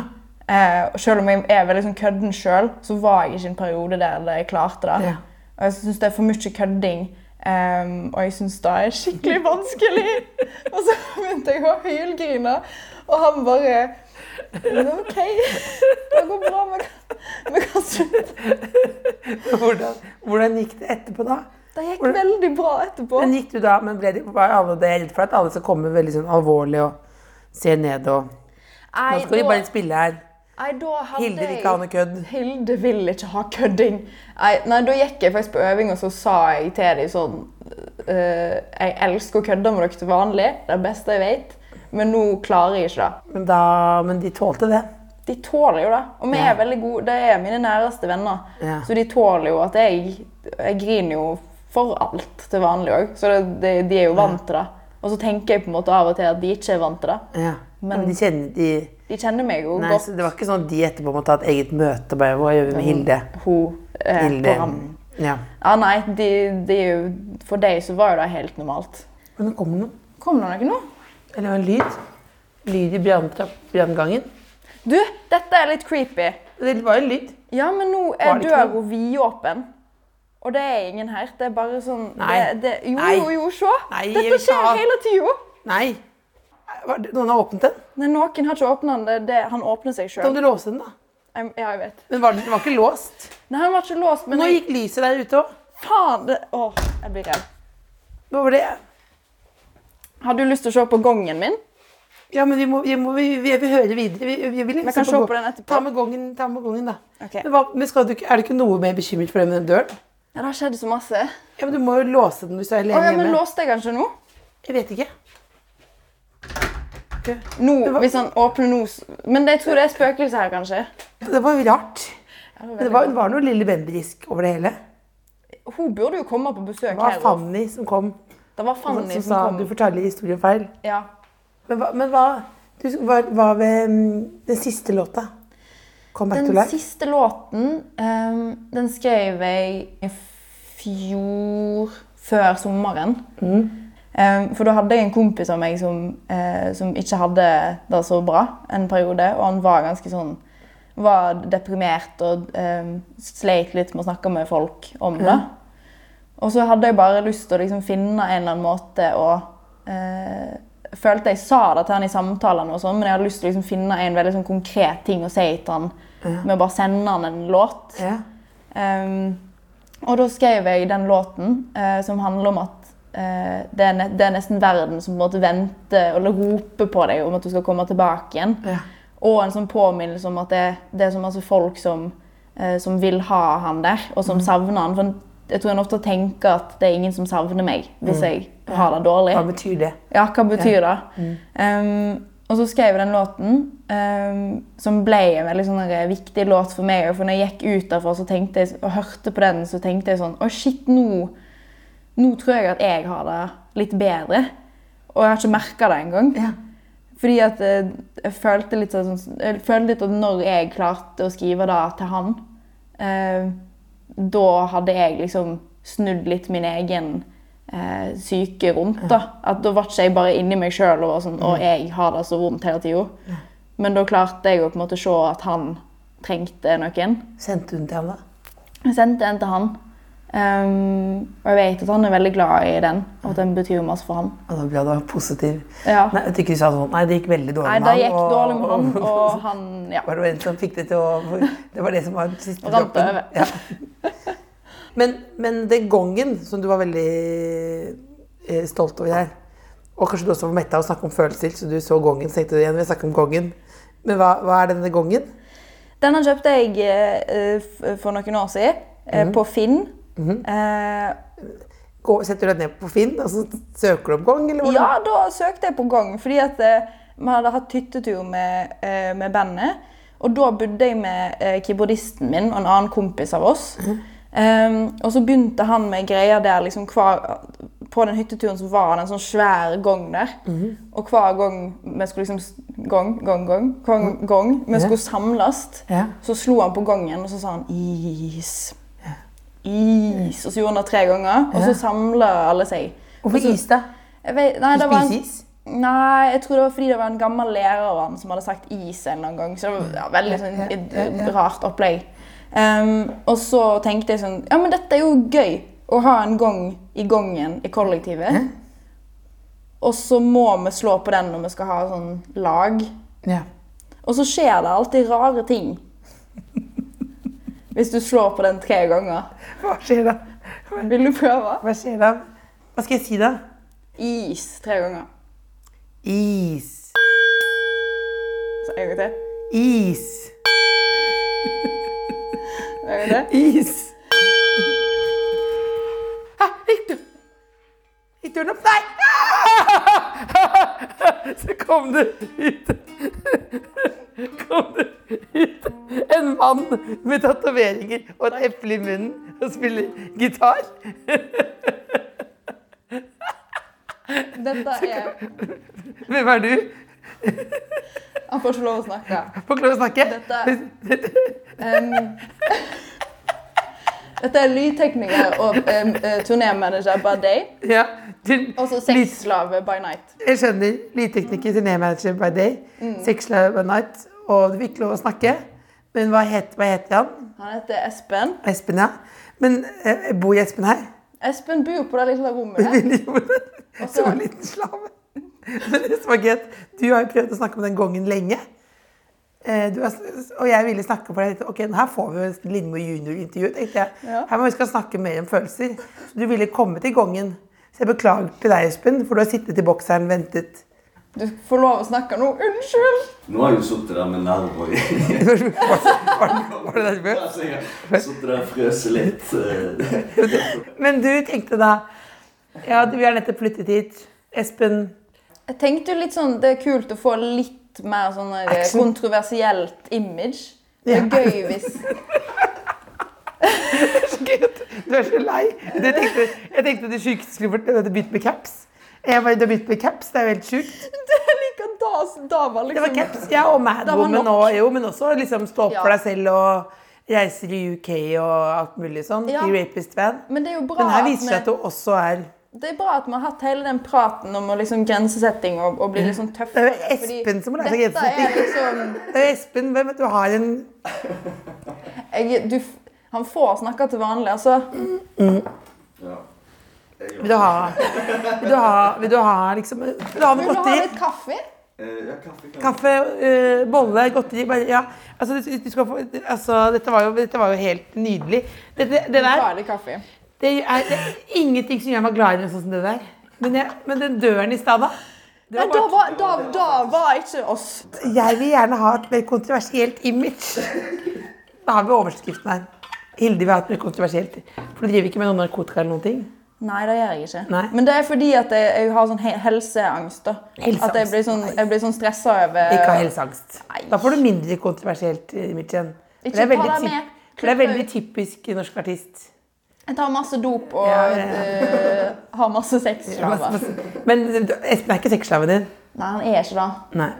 Speaker 5: Eh, og selv om jeg er veldig sånn kødden sjøl, så var jeg ikke i en periode der jeg klarte det.
Speaker 3: Ja.
Speaker 5: Og jeg syns det er for mye kødding, ehm, og jeg syns det er skikkelig vanskelig. og så begynte jeg å hylgrine, og han bare "Men OK, det går bra. Vi kan, vi kan slutte.
Speaker 3: Hvordan, hvordan gikk det etterpå, da?
Speaker 5: Det gikk veldig bra etterpå.
Speaker 3: Men gikk du da, men ble de, var alle det redd for at alle skal komme veldig sånn alvorlig og se ned og Nå skal de bare spille her.
Speaker 5: Nei, da hadde
Speaker 3: Hilde vil
Speaker 5: jeg-
Speaker 3: ikke ha noe kødd.
Speaker 5: Hilde vil ikke ha kødding. Nei, nei, da gikk jeg faktisk på øving, og så sa jeg til dem sånn eh, Jeg elsker å kødde med dere til vanlig. Det er det beste jeg vet. Men nå klarer jeg ikke det.
Speaker 3: Men, da, men de tålte det.
Speaker 5: De tåler jo det. Og vi er veldig gode. Det er mine næreste venner.
Speaker 3: Ja.
Speaker 5: Så de tåler jo at jeg Jeg griner jo for alt til vanlig òg. Så det, det, de er jo vant til det. Og så tenker jeg på en måte av og til at de ikke er vant til det.
Speaker 3: Ja. Men,
Speaker 5: Men-
Speaker 3: de kjenner de
Speaker 5: De kjenner meg jo
Speaker 3: Nei,
Speaker 5: godt.
Speaker 3: så Det var ikke sånn at de etterpå måtte ha et eget møte og bare Hva gjør vi med Hilde?
Speaker 5: Hun er
Speaker 3: Hilde.
Speaker 5: på rammen.
Speaker 3: Ja.
Speaker 5: Ja, nei, de, de, er jo- for deg så var jo det helt normalt.
Speaker 3: Men nå kommer noen.
Speaker 5: Kom det noe nå?
Speaker 3: Eller det var en lyd. Lyd i branntrapp- branngangen.
Speaker 5: Du, dette er litt creepy.
Speaker 3: Det var en lyd.
Speaker 5: Ja, men nå
Speaker 3: Var
Speaker 5: er
Speaker 3: det ikke
Speaker 5: døra vidåpen. Og det er ingen her. Det er bare sånn
Speaker 3: Nei.
Speaker 5: Det, det, jo,
Speaker 3: Nei.
Speaker 5: jo, jo, se.
Speaker 3: Nei, jeg vil
Speaker 5: Dette
Speaker 3: ikke
Speaker 5: skjer
Speaker 3: ha-
Speaker 5: hele tida.
Speaker 3: Nei. Var det- Noen har åpnet den.
Speaker 5: Nei, noen har ikke åpna den. Det, det, han åpner seg
Speaker 3: Da må
Speaker 5: sjøl.
Speaker 3: du låse den, da.
Speaker 5: Ja, jeg vet.
Speaker 3: Men var den, den var ikke låst.
Speaker 5: Nei, han var ikke låst, men
Speaker 3: Nå
Speaker 5: jeg,
Speaker 3: gikk lyset der ute òg.
Speaker 5: faen det, Åh, jeg blir redd.
Speaker 3: Hva var det?
Speaker 5: Har du lyst til å se på gongen min?
Speaker 3: Ja, men vi må, vi må vi, vi, vi høre videre. Vi, vi vil
Speaker 5: Vi kan se
Speaker 3: gong-
Speaker 5: på den etterpå.
Speaker 3: Ta med gongen, ta med gongen da.
Speaker 5: Ok.
Speaker 3: Men, hva, men skal du, ikke- er du ikke noe mer bekymret for det med den døren?
Speaker 5: Ja, det har skjedd så masse. Å,
Speaker 3: Ja, men Du må jo låse den hvis du er alene
Speaker 5: ja, men
Speaker 3: hjemme.
Speaker 5: låste jeg den ikke nå?
Speaker 3: Jeg vet ikke.
Speaker 5: Nå,
Speaker 3: var-
Speaker 5: Hvis han åpner nå s- Men jeg tror det er spøkelse her, kanskje.
Speaker 3: Det var jo rart.
Speaker 5: Ja, det
Speaker 3: Men
Speaker 5: er
Speaker 3: det var,
Speaker 5: veldig-
Speaker 3: det var noe lille bembrisk over det hele.
Speaker 5: Hun burde jo komme på besøk
Speaker 3: Det var
Speaker 5: her. også.
Speaker 3: Fanny som kom
Speaker 5: Det var
Speaker 3: som,
Speaker 5: Fanny
Speaker 3: som
Speaker 5: som,
Speaker 3: sa du
Speaker 5: kom.
Speaker 3: forteller historien feil.
Speaker 5: Ja.
Speaker 3: Men hva, men hva du, hva, hva ved mm, den siste låta? Come back to
Speaker 5: Den
Speaker 3: life?
Speaker 5: siste låten ehm, den skrev jeg i fjor, før sommeren.
Speaker 3: Mm.
Speaker 5: Ehm, for da hadde jeg en kompis av meg som, eh, som ikke hadde det så bra en periode. Og han var ganske sånn var deprimert og ehm, sleit litt med å snakke med folk om det. Og så hadde jeg bare lyst til å liksom finne en eller annen måte å eh, Følte jeg sa det til han i samtalene, og sånn, men jeg hadde lyst til å liksom finne en veldig sånn konkret ting å si til han. Med å bare sende han en låt.
Speaker 3: Ja.
Speaker 5: Ehm, og da skrev jeg den låten eh, som handler om at eh, det, er ne det er nesten verden som på en måte venter eller roper på deg om at du skal komme tilbake igjen.
Speaker 3: Ja.
Speaker 5: Og en sånn påminnelse om at det, det er så masse folk som, eh, som vil ha han der, og som savner han. For en- jeg tror en ofte tenker at det er ingen som savner meg hvis jeg har det dårlig.
Speaker 3: Hva betyr det?
Speaker 5: Ja, hva betyr det? Um, og så skrev jeg den låten, um, som ble en veldig sånn der viktig låt for meg. For når jeg gikk ut derfra så tenkte jeg, og hørte på den, så tenkte jeg sånn Å, shit, nå, nå tror jeg at jeg har det litt bedre. Og jeg har ikke merka det engang. Fordi at eh, jeg følte litt sånn Jeg følte litt at når jeg klarte å skrive det til han, eh, da hadde jeg liksom snudd litt min egen eh, syke rundt. Da At da var ikke jeg bare inni meg sjøl og var sånn Å, jeg har det så vondt hele tida. Men da klarte jeg å på en måte se at han trengte noen.
Speaker 3: Sendte hun til ham, da?
Speaker 5: Jeg sendte en til han. Ehm, og jeg vet at han er veldig glad i den, og at den betyr masse for han.
Speaker 3: Ja, da ble du positiv.
Speaker 5: Ja.
Speaker 3: Nei, jeg tenker du sa sånn, nei, det gikk veldig dårlig
Speaker 5: Nei,
Speaker 3: med
Speaker 5: det
Speaker 3: han.
Speaker 5: gikk
Speaker 3: og-
Speaker 5: dårlig med han, og han Ja.
Speaker 3: Var det en som fikk det til å Det var det som var den siste
Speaker 5: Rant
Speaker 3: droppen.
Speaker 5: over.
Speaker 3: Ja. Men, men den gongen som du var veldig eh, stolt over her, og kanskje du også var metta av å snakke om følelser, så du så gongen, så tenkte du igjen vil jeg snakke om gongen. Men hva, hva er denne gongen?
Speaker 5: Denne kjøpte jeg eh, f- for noen år siden
Speaker 3: Mhm.
Speaker 5: eh, på Finn. Eh,
Speaker 3: Gå, setter du deg ned på Finn og så søker du om gong? Eller hvordan?
Speaker 5: ja, da søkte jeg på gang, fordi at eh, vi hadde hatt hyttetur med, eh, med bandet. Og da bodde jeg med eh, keyboardisten min og en annen kompis av oss. Eh, og så begynte han med greier der liksom hver, På den hytteturen så var det en sånn svær gong der. Og hver gang vi skulle liksom s- Gong, gong, gong. gong, gong vi skulle samles,
Speaker 3: Ja.
Speaker 5: så slo han på gongen og så sa han is. Is. Og så gjorde han det tre ganger, og så samla alle seg. Og så-
Speaker 3: Hvorfor is, da?
Speaker 5: jeg vet, nei, det var en,
Speaker 3: Spiseis?
Speaker 5: Nei, jeg tror det var fordi det var en gammel lærer av han som hadde sagt is en eller annen gang. Så det var ja, veldig sånn, et, et rart opplegg. Ehm, og så tenkte jeg sånn Ja, men dette er jo gøy. Å ha en gong i gongen i kollektivet. Og så må vi slå på den når vi skal ha sånn lag.
Speaker 3: Ja.
Speaker 5: Og så skjer det alltid rare ting. Hvis du slår på den tre ganger.
Speaker 3: Hva skjer da?
Speaker 5: Vil du prøve?
Speaker 3: Hva skjer da? Hva skal jeg si da?
Speaker 5: Is tre ganger.
Speaker 3: Is.
Speaker 5: Så en gang til.
Speaker 3: Is.
Speaker 5: En gang til.
Speaker 3: Is. Hæ, gikk du? Gikk døren opp? Nei! Ah! Så kom det ut Kom det ut en mann med tatoveringer og et eple i munnen og spiller gitar.
Speaker 5: Dette er
Speaker 3: Hvem er du?
Speaker 5: Han får ikke lov å snakke.
Speaker 3: Får ikke lov å snakke.
Speaker 5: Dette, um, Dette er lydtekniker og um, turnémanager by day.
Speaker 3: Ja, din-
Speaker 5: Og så
Speaker 3: lys-
Speaker 5: sexslave by night.
Speaker 3: Jeg skjønner. Lydtekniker, turnémanager by day, sexslave by night, og du fikk lov å snakke. Men hva het- hva heter han?
Speaker 5: Han heter Espen.
Speaker 3: Espen, ja. Men eh, bor Espen her?
Speaker 5: Espen bor på det lille rommet der.
Speaker 3: Som en liten slave. Men det som var gøy, at du har jo prøvd å snakke om den gongen lenge. Eh, Du har, og jeg ville snakke for deg. Ok, her får vi jo Lindmo junior-intervju. tenkte jeg.
Speaker 5: Ja.
Speaker 3: Her må vi skal snakke mer om følelser. Så du ville komme til gongen. Så jeg beklager til deg, Espen, for du har sittet i bokseren og ventet.
Speaker 5: Du får lov å snakke nå. Unnskyld!
Speaker 6: Nå har jeg jo sittet der med nerver i
Speaker 3: Var det var det derfor?
Speaker 6: altså, Jeg har sittet der og frøst litt. eh.
Speaker 3: Men du tenkte da Ja, vi har nettopp flyttet hit. Espen
Speaker 5: Jeg tenkte jo litt sånn, Det er kult å få litt mer sånn der
Speaker 3: Action.
Speaker 5: kontroversielt image. Det er
Speaker 3: Ja.
Speaker 5: gøy hvis
Speaker 3: Du er så lei. Du tenkte, jeg tenkte det sjukeste skulle vært at du begynte med caps. Jeg bare, du har begynt med caps, det er jo helt sjukt.
Speaker 5: Jeg liker da, da var
Speaker 3: Det var
Speaker 5: liksom
Speaker 3: caps, ja, og
Speaker 5: Da var
Speaker 3: Madwoman
Speaker 5: nok.
Speaker 3: og jo, men også liksom stå opp
Speaker 5: Ja.
Speaker 3: for deg selv og reiser i UK og alt mulig sånn.
Speaker 5: Ja.
Speaker 3: I Rapist Van.
Speaker 5: Men det er jo bra
Speaker 3: Men her
Speaker 5: at
Speaker 3: viser det seg at
Speaker 5: vi-
Speaker 3: du også er
Speaker 5: det er bra at vi har hatt hele den praten om å liksom grensesetting og, og bli litt sånn tøffere.
Speaker 3: Det er jo
Speaker 5: fordi
Speaker 3: Espen som må lære seg
Speaker 5: dette er
Speaker 3: grensesetting.
Speaker 5: liksom-
Speaker 3: Det er Espen, hvem vet du har en
Speaker 5: Jeg, du, f- han får snakke til vanlig, altså.
Speaker 6: Ja. Jeg
Speaker 3: Vil du ha Vil du ha, vil du ha liksom Vil du ha noe
Speaker 5: Vil du ha
Speaker 3: godteri?
Speaker 5: litt kaffe?
Speaker 6: Eh, Ja, kaffe, kaffe.
Speaker 3: Kaffe, øh, bolle, godteri bare, ja. altså, du, du skal få, altså, dette, var jo, dette var jo helt nydelig. Dette, det der
Speaker 5: Bare litt kaffe.
Speaker 3: Det er, det er ingenting som gjør meg gladere enn sånn som det der. Men, jeg, men den døren i stad, da. Det
Speaker 5: Nei,
Speaker 3: var
Speaker 5: da
Speaker 3: bare,
Speaker 5: var, da, da var ikke oss.
Speaker 3: jeg vil gjerne ha et mer kontroversielt image. Da har vi overskriften her. Hilde vil ha et mer kontroversielt. For du driver ikke med noe narkotika eller noen ting?
Speaker 5: Nei, det gjør jeg ikke.
Speaker 3: Nei.
Speaker 5: Men det er fordi at jeg, jeg har sånn he- helseangst. da.
Speaker 3: Helseangst,
Speaker 5: At jeg blir sånn, jeg blir sånn stressa over
Speaker 3: Ikke ha helseangst.
Speaker 5: Nei.
Speaker 3: Da får du mindre kontroversielt eh, image igjen. For
Speaker 5: Ikke
Speaker 3: Det er
Speaker 5: ta
Speaker 3: veldig,
Speaker 5: deg med.
Speaker 3: typ, for det er veldig typisk norsk artist.
Speaker 5: Jeg tar masse dop og
Speaker 3: Ja, ja, ja.
Speaker 5: eh, har masse sex. slaver.
Speaker 3: Men du- Espen er ikke sexslaven din?
Speaker 5: Nei, han er ikke det.
Speaker 3: Nei.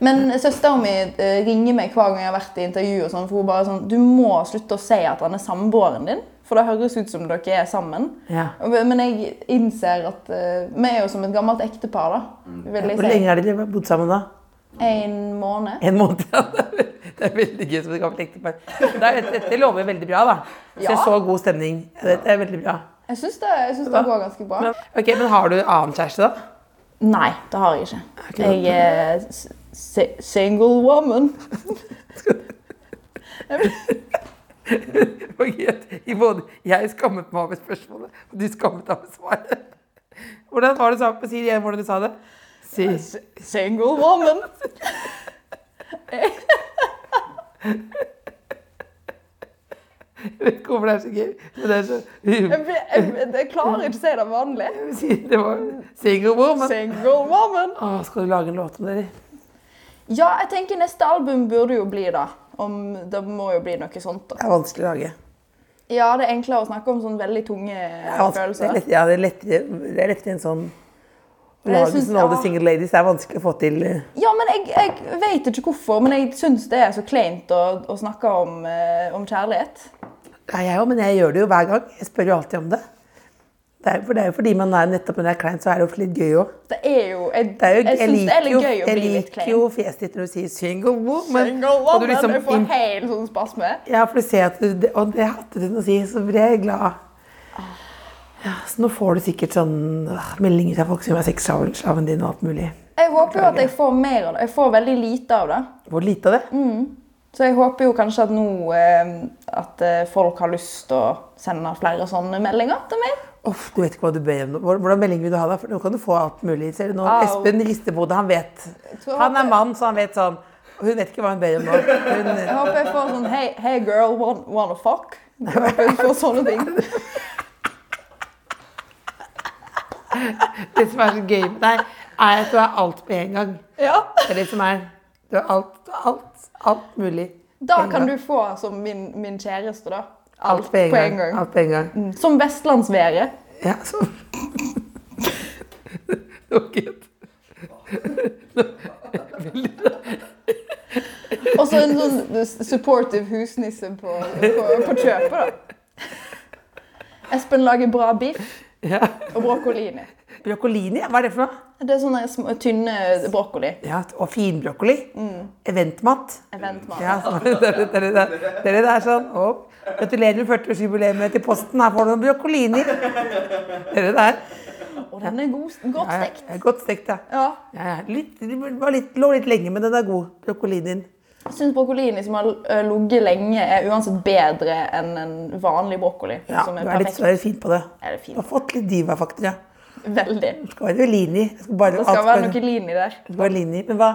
Speaker 5: Men søstera mi eh, ringer meg hver gang jeg har vært i intervju, og sånn, for hun bare sånn Du må slutte å si at han er samboeren din, for det høres ut som dere er sammen.
Speaker 3: Ja.
Speaker 5: Men jeg innser at eh, Vi er jo som et gammelt ektepar, da. Vil
Speaker 3: Hvor
Speaker 5: jeg si.
Speaker 3: lenge har dere bodd sammen da?
Speaker 5: En måned.
Speaker 3: En måned, ja. Det er veldig gøy som et gammelt ektepar. Det er- Dette lover veldig bra, da. Så jeg
Speaker 5: Ja.
Speaker 3: så god stemning. Dette er veldig bra.
Speaker 5: Jeg syns det, jeg syns det går ganske bra.
Speaker 3: Men, ok, men har du annen kjæreste, da?
Speaker 5: Nei, det har jeg
Speaker 3: ikke
Speaker 5: ikke. Jeg er s- si- single woman.
Speaker 3: Og jeg- i både- Jeg skammet meg over spørsmålet, og du skammet deg over svaret. Hvordan var det du sa på si igjen hvordan du sa det? Si.
Speaker 5: Single woman.
Speaker 3: Jeg vet ikke hvorfor det er så gøy, men det er så
Speaker 5: Jeg, blir- jeg, jeg klarer ikke å si det vanlig.
Speaker 3: Si- Det var single woman.
Speaker 5: Single woman.
Speaker 3: Å, skal du lage en låt om dere?
Speaker 5: Ja, jeg tenker neste album burde jo bli det. Om, det må jo bli noe sånt. da.
Speaker 3: Det er vanskelig å lage.
Speaker 5: Ja, det er enklere å snakke om sånn veldig tunge
Speaker 3: Det er vanskelig- det er
Speaker 5: følelser.
Speaker 3: lett- Ja, det er lettere, det er lettere enn sånn
Speaker 5: Jeg
Speaker 3: Lagelsen
Speaker 5: synes-
Speaker 3: av All
Speaker 5: ja.
Speaker 3: the Single Ladies det er vanskelig å få til. eh,
Speaker 5: Ja, men jeg, jeg vet ikke hvorfor, men jeg syns det er så kleint å, å snakke om, eh, om kjærlighet.
Speaker 3: Nei, jeg òg, men jeg gjør det jo hver gang. Jeg spør jo alltid om det. Det er, jo- for det er jo fordi man er nettopp når det er kleint, så er det jo litt gøy òg.
Speaker 5: Det er jo Jeg,
Speaker 3: Det er jo,
Speaker 5: jeg syns det er litt
Speaker 3: jo-
Speaker 5: gøy å
Speaker 3: jeg
Speaker 5: bli litt
Speaker 3: liker
Speaker 5: klein.
Speaker 3: jo fjeset ditt når du sier 'single woman'.
Speaker 5: Single
Speaker 3: og du
Speaker 5: woman,
Speaker 3: liksom
Speaker 5: jeg får
Speaker 3: imp-
Speaker 5: helt sånn spasme.
Speaker 3: ja, for du ser at du, det- Og det hadde du til å si, så ble jeg glad. Ja, så nå får du sikkert sånn øh, meldinger fra folk som er sexslaven din og alt mulig.
Speaker 5: Jeg håper jo at jeg får mer av det. Jeg får veldig lite av det.
Speaker 3: Hvor lite av det?
Speaker 5: Så jeg håper jo kanskje at nå eh, at eh, folk har lyst til å sende flere sånne meldinger til meg.
Speaker 3: Uff, du vet ikke hva du ber om. nå. Hvor- Hvordan melding vil du ha da? For nå kan du få alt mulig. Ser du nå?
Speaker 5: Au.
Speaker 3: Espen rister på hodet, han vet.
Speaker 5: tror
Speaker 3: Han er
Speaker 5: at-
Speaker 3: mann, så han vet sånn. Hun vet ikke hva hun ber om nå.
Speaker 5: Jeg
Speaker 3: Hun,
Speaker 5: håper jeg får sånn Hey, hey girl, wanna, wanna fuck? Jeg håper jeg får sånne ting.
Speaker 3: det som er så gøy med deg, er at du er alt på en gang.
Speaker 5: Ja.
Speaker 3: Det er det som er. Du er alt, alt, alt mulig.
Speaker 5: Da kan du få som min, min kjæreste, da.
Speaker 3: Alt på en gang. Alt på en gang.
Speaker 5: Som vestlandsværet.
Speaker 3: Ja, så. Det var gøy.
Speaker 5: Og så en sånn supportive husnisse på, på, på kjøpet, da. Espen lager bra biff
Speaker 3: Ja.
Speaker 5: og brokkolini.
Speaker 3: Brokkolini, hva er det for noe?
Speaker 5: Det er sånne små, tynne brokkoli.
Speaker 3: Ja, Og finbrokkoli.
Speaker 5: Mm.
Speaker 3: Eventmat.
Speaker 5: Eventmat.
Speaker 3: Ja, så- det er det- det er det der. Det er det der sånn. Og, gratulerer med 40-årsjubileet til Posten. Her får du noen brokkolini. Det er det der.
Speaker 5: Og den er god, godt
Speaker 3: Ja, ja.
Speaker 5: stekt.
Speaker 3: Ja, Godt stekt, ja.
Speaker 5: Ja.
Speaker 3: ja, ja. Litt, det var litt, lå litt lenge, men den er god. Brokkolinien.
Speaker 5: Jeg syns brokkolini som har ø, ligget lenge, er uansett bedre enn en vanlig brokkoli.
Speaker 3: Ja,
Speaker 5: som
Speaker 3: du
Speaker 5: er
Speaker 3: er litt
Speaker 5: perfekt.
Speaker 3: du er litt fin på det.
Speaker 5: Er det fin?
Speaker 3: Du har fått litt divafaktor, ja.
Speaker 5: Veldig.
Speaker 3: Det skal være lini. Det skal bare
Speaker 5: Det skal
Speaker 3: alt
Speaker 5: være noe lini der.
Speaker 3: Det var Lini. Men hva,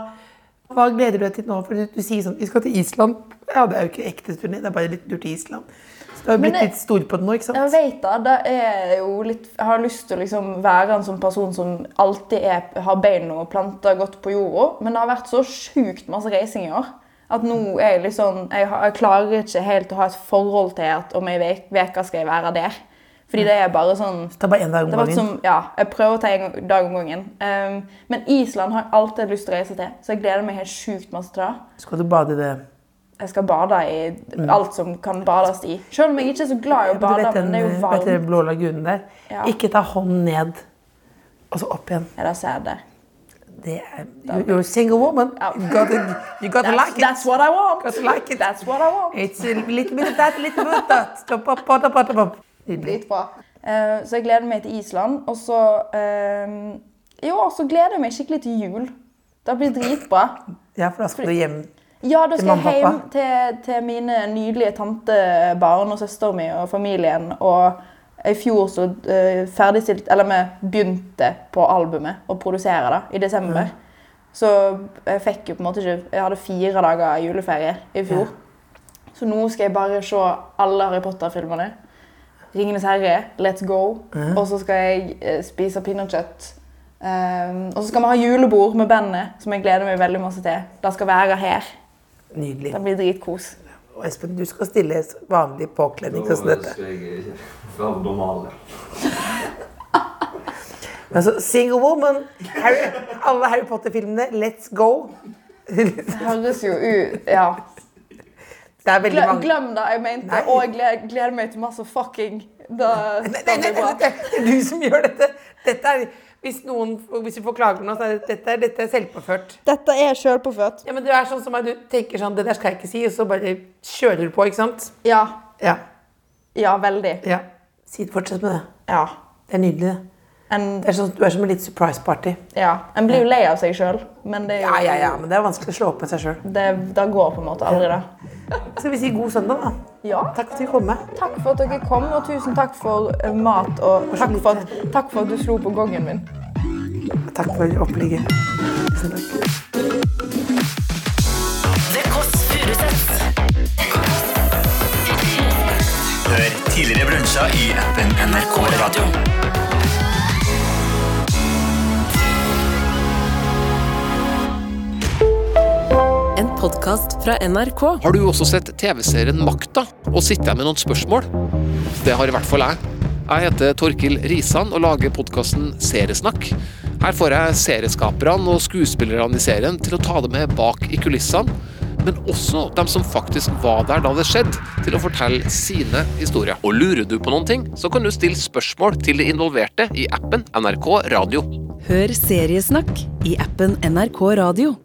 Speaker 3: hva gleder du deg til nå? For du, du sier sånn, vi skal til Island. Ja, det er jo ikke ekte turné, det er bare litt tur til Island. Så du har
Speaker 5: Men
Speaker 3: blitt
Speaker 5: det-
Speaker 3: litt stor på det nå, ikke
Speaker 5: Jeg
Speaker 3: sant?
Speaker 5: vet da, det er jo litt, jeg har lyst til å liksom være en sånn person som alltid er, har beina og planter godt på jorda, men det har vært så sjukt masse reising i år. At nå er jeg litt sånn, jeg, har, jeg klarer ikke helt å ha et forhold til at om ei vek- veke skal jeg være der. Fordi det er bare sånn
Speaker 3: Ta bare en dag om
Speaker 5: det har vært
Speaker 3: gangen.
Speaker 5: som, ja, jeg prøver å ta en gang- dag om gangen. Um, men Island har jeg alltid lyst til å reise til, så jeg gleder meg helt sjukt masse til det.
Speaker 3: Skal du bade i det?
Speaker 5: Jeg skal bade i alt som kan bades i. Selv om jeg ikke er så glad i å
Speaker 3: Mm. Du
Speaker 5: bade,
Speaker 3: vet den, eh,
Speaker 5: men det er jo
Speaker 3: vet den
Speaker 5: varmt.
Speaker 3: blå lagunen der?
Speaker 5: Ja.
Speaker 3: Ikke ta hånden ned, og så opp igjen.
Speaker 5: Ja, da ser jeg det.
Speaker 3: Det er, you- you're a single woman. You gotta, you gotta
Speaker 5: That's,
Speaker 3: like it.
Speaker 5: that's what I want.
Speaker 3: Gotta like it.
Speaker 5: That's what I want.
Speaker 3: It's a little bit of that, a little bit of that. Stop up, up, up, up, up. Nydelig.
Speaker 5: Dritbra. Eh, så jeg gleder meg til Island. Og så eh, I år så gleder jeg meg skikkelig til jul. Det blir dritbra.
Speaker 3: Ja, for da skal du hjem.
Speaker 5: Ja, da
Speaker 3: Til
Speaker 5: skal
Speaker 3: mamma
Speaker 5: jeg
Speaker 3: og
Speaker 5: hjem til, til mine nydelige tantebarn og søsteren min og familien. Og i fjor så eh, ferdigstilt Eller vi begynte på albumet å produsere det i desember. Så jeg fikk jo på en måte ikke Jeg hadde fire dager juleferie i fjor. Så nå skal jeg bare se alle Harry Potter-filmene. 'Ringenes herre', 'Let's Go'. Og så skal jeg eh, spise pinnekjøtt. Ehm, og så skal vi ha julebord med bandet, som jeg gleder meg veldig masse til. Det skal være her.
Speaker 3: Nydelig.
Speaker 5: Det blir dritkos.
Speaker 3: Og Espen, du skal stille vanlig påkledning
Speaker 6: Da
Speaker 3: sånn som dette.
Speaker 6: skal jeg eh, være normal.
Speaker 3: Men altså, Single Woman, Harry, alle Harry Potter-filmene, Let's Go.
Speaker 5: Det høres jo ut Ja.
Speaker 3: Det er veldig
Speaker 5: Gle,
Speaker 3: mange.
Speaker 5: glem det jeg mente.
Speaker 3: Nei.
Speaker 5: Og jeg gleder, gleder meg til masse fucking. Da
Speaker 3: Nei,
Speaker 5: det
Speaker 3: nei, nei,
Speaker 5: blir
Speaker 3: nei,
Speaker 5: bra.
Speaker 3: det er du som gjør dette. dette er, hvis, noen, hvis vi får klager nå, så er det, dette, er- dette er selvpåført.
Speaker 5: Dette er sjølpåført.
Speaker 3: Ja, men Du er sånn som meg, du tenker sånn, det der skal jeg ikke si, og så bare kjører du på, ikke sant?
Speaker 5: Ja.
Speaker 3: Ja.
Speaker 5: Ja, veldig.
Speaker 3: ja. Si det, fortsett med det.
Speaker 5: Ja.
Speaker 3: Det er nydelig. det.
Speaker 5: En,
Speaker 3: Det er sånn, du er som en litt surprise party.
Speaker 5: ja. en blir jo lei av seg sjøl, men det, er jo-
Speaker 3: Ja, ja, ja, men det er vanskelig å slå opp med seg sjøl.
Speaker 5: det, det går på en måte aldri, det.
Speaker 3: Skal vi si god søndag, da?
Speaker 5: Ja.
Speaker 3: Takk for at du kom.
Speaker 5: Takk for at dere kom, og tusen takk for eh, mat. Og takk for, at, takk for at du slo på gongen min.
Speaker 3: Takk for opplegget. Tusen takk.
Speaker 2: Det Kåss Furuseths.
Speaker 7: Hør tidligere brunsjer i appen NRK Radio.
Speaker 8: En podkast fra NRK.
Speaker 9: Har du også sett TV-serien Makta og sitter jeg med noen spørsmål? Det har i hvert fall jeg. Jeg heter Torkil Risan og lager podkasten Seriesnakk. Her får jeg serieskaperne og skuespillerne i serien til å ta det med bak i kulissene, men også dem som faktisk var der da det skjedde, til å fortelle sine historier. Og lurer du på noen ting, så kan du stille spørsmål til de involverte i appen NRK Radio.
Speaker 8: Hør Seriesnakk i appen NRK Radio.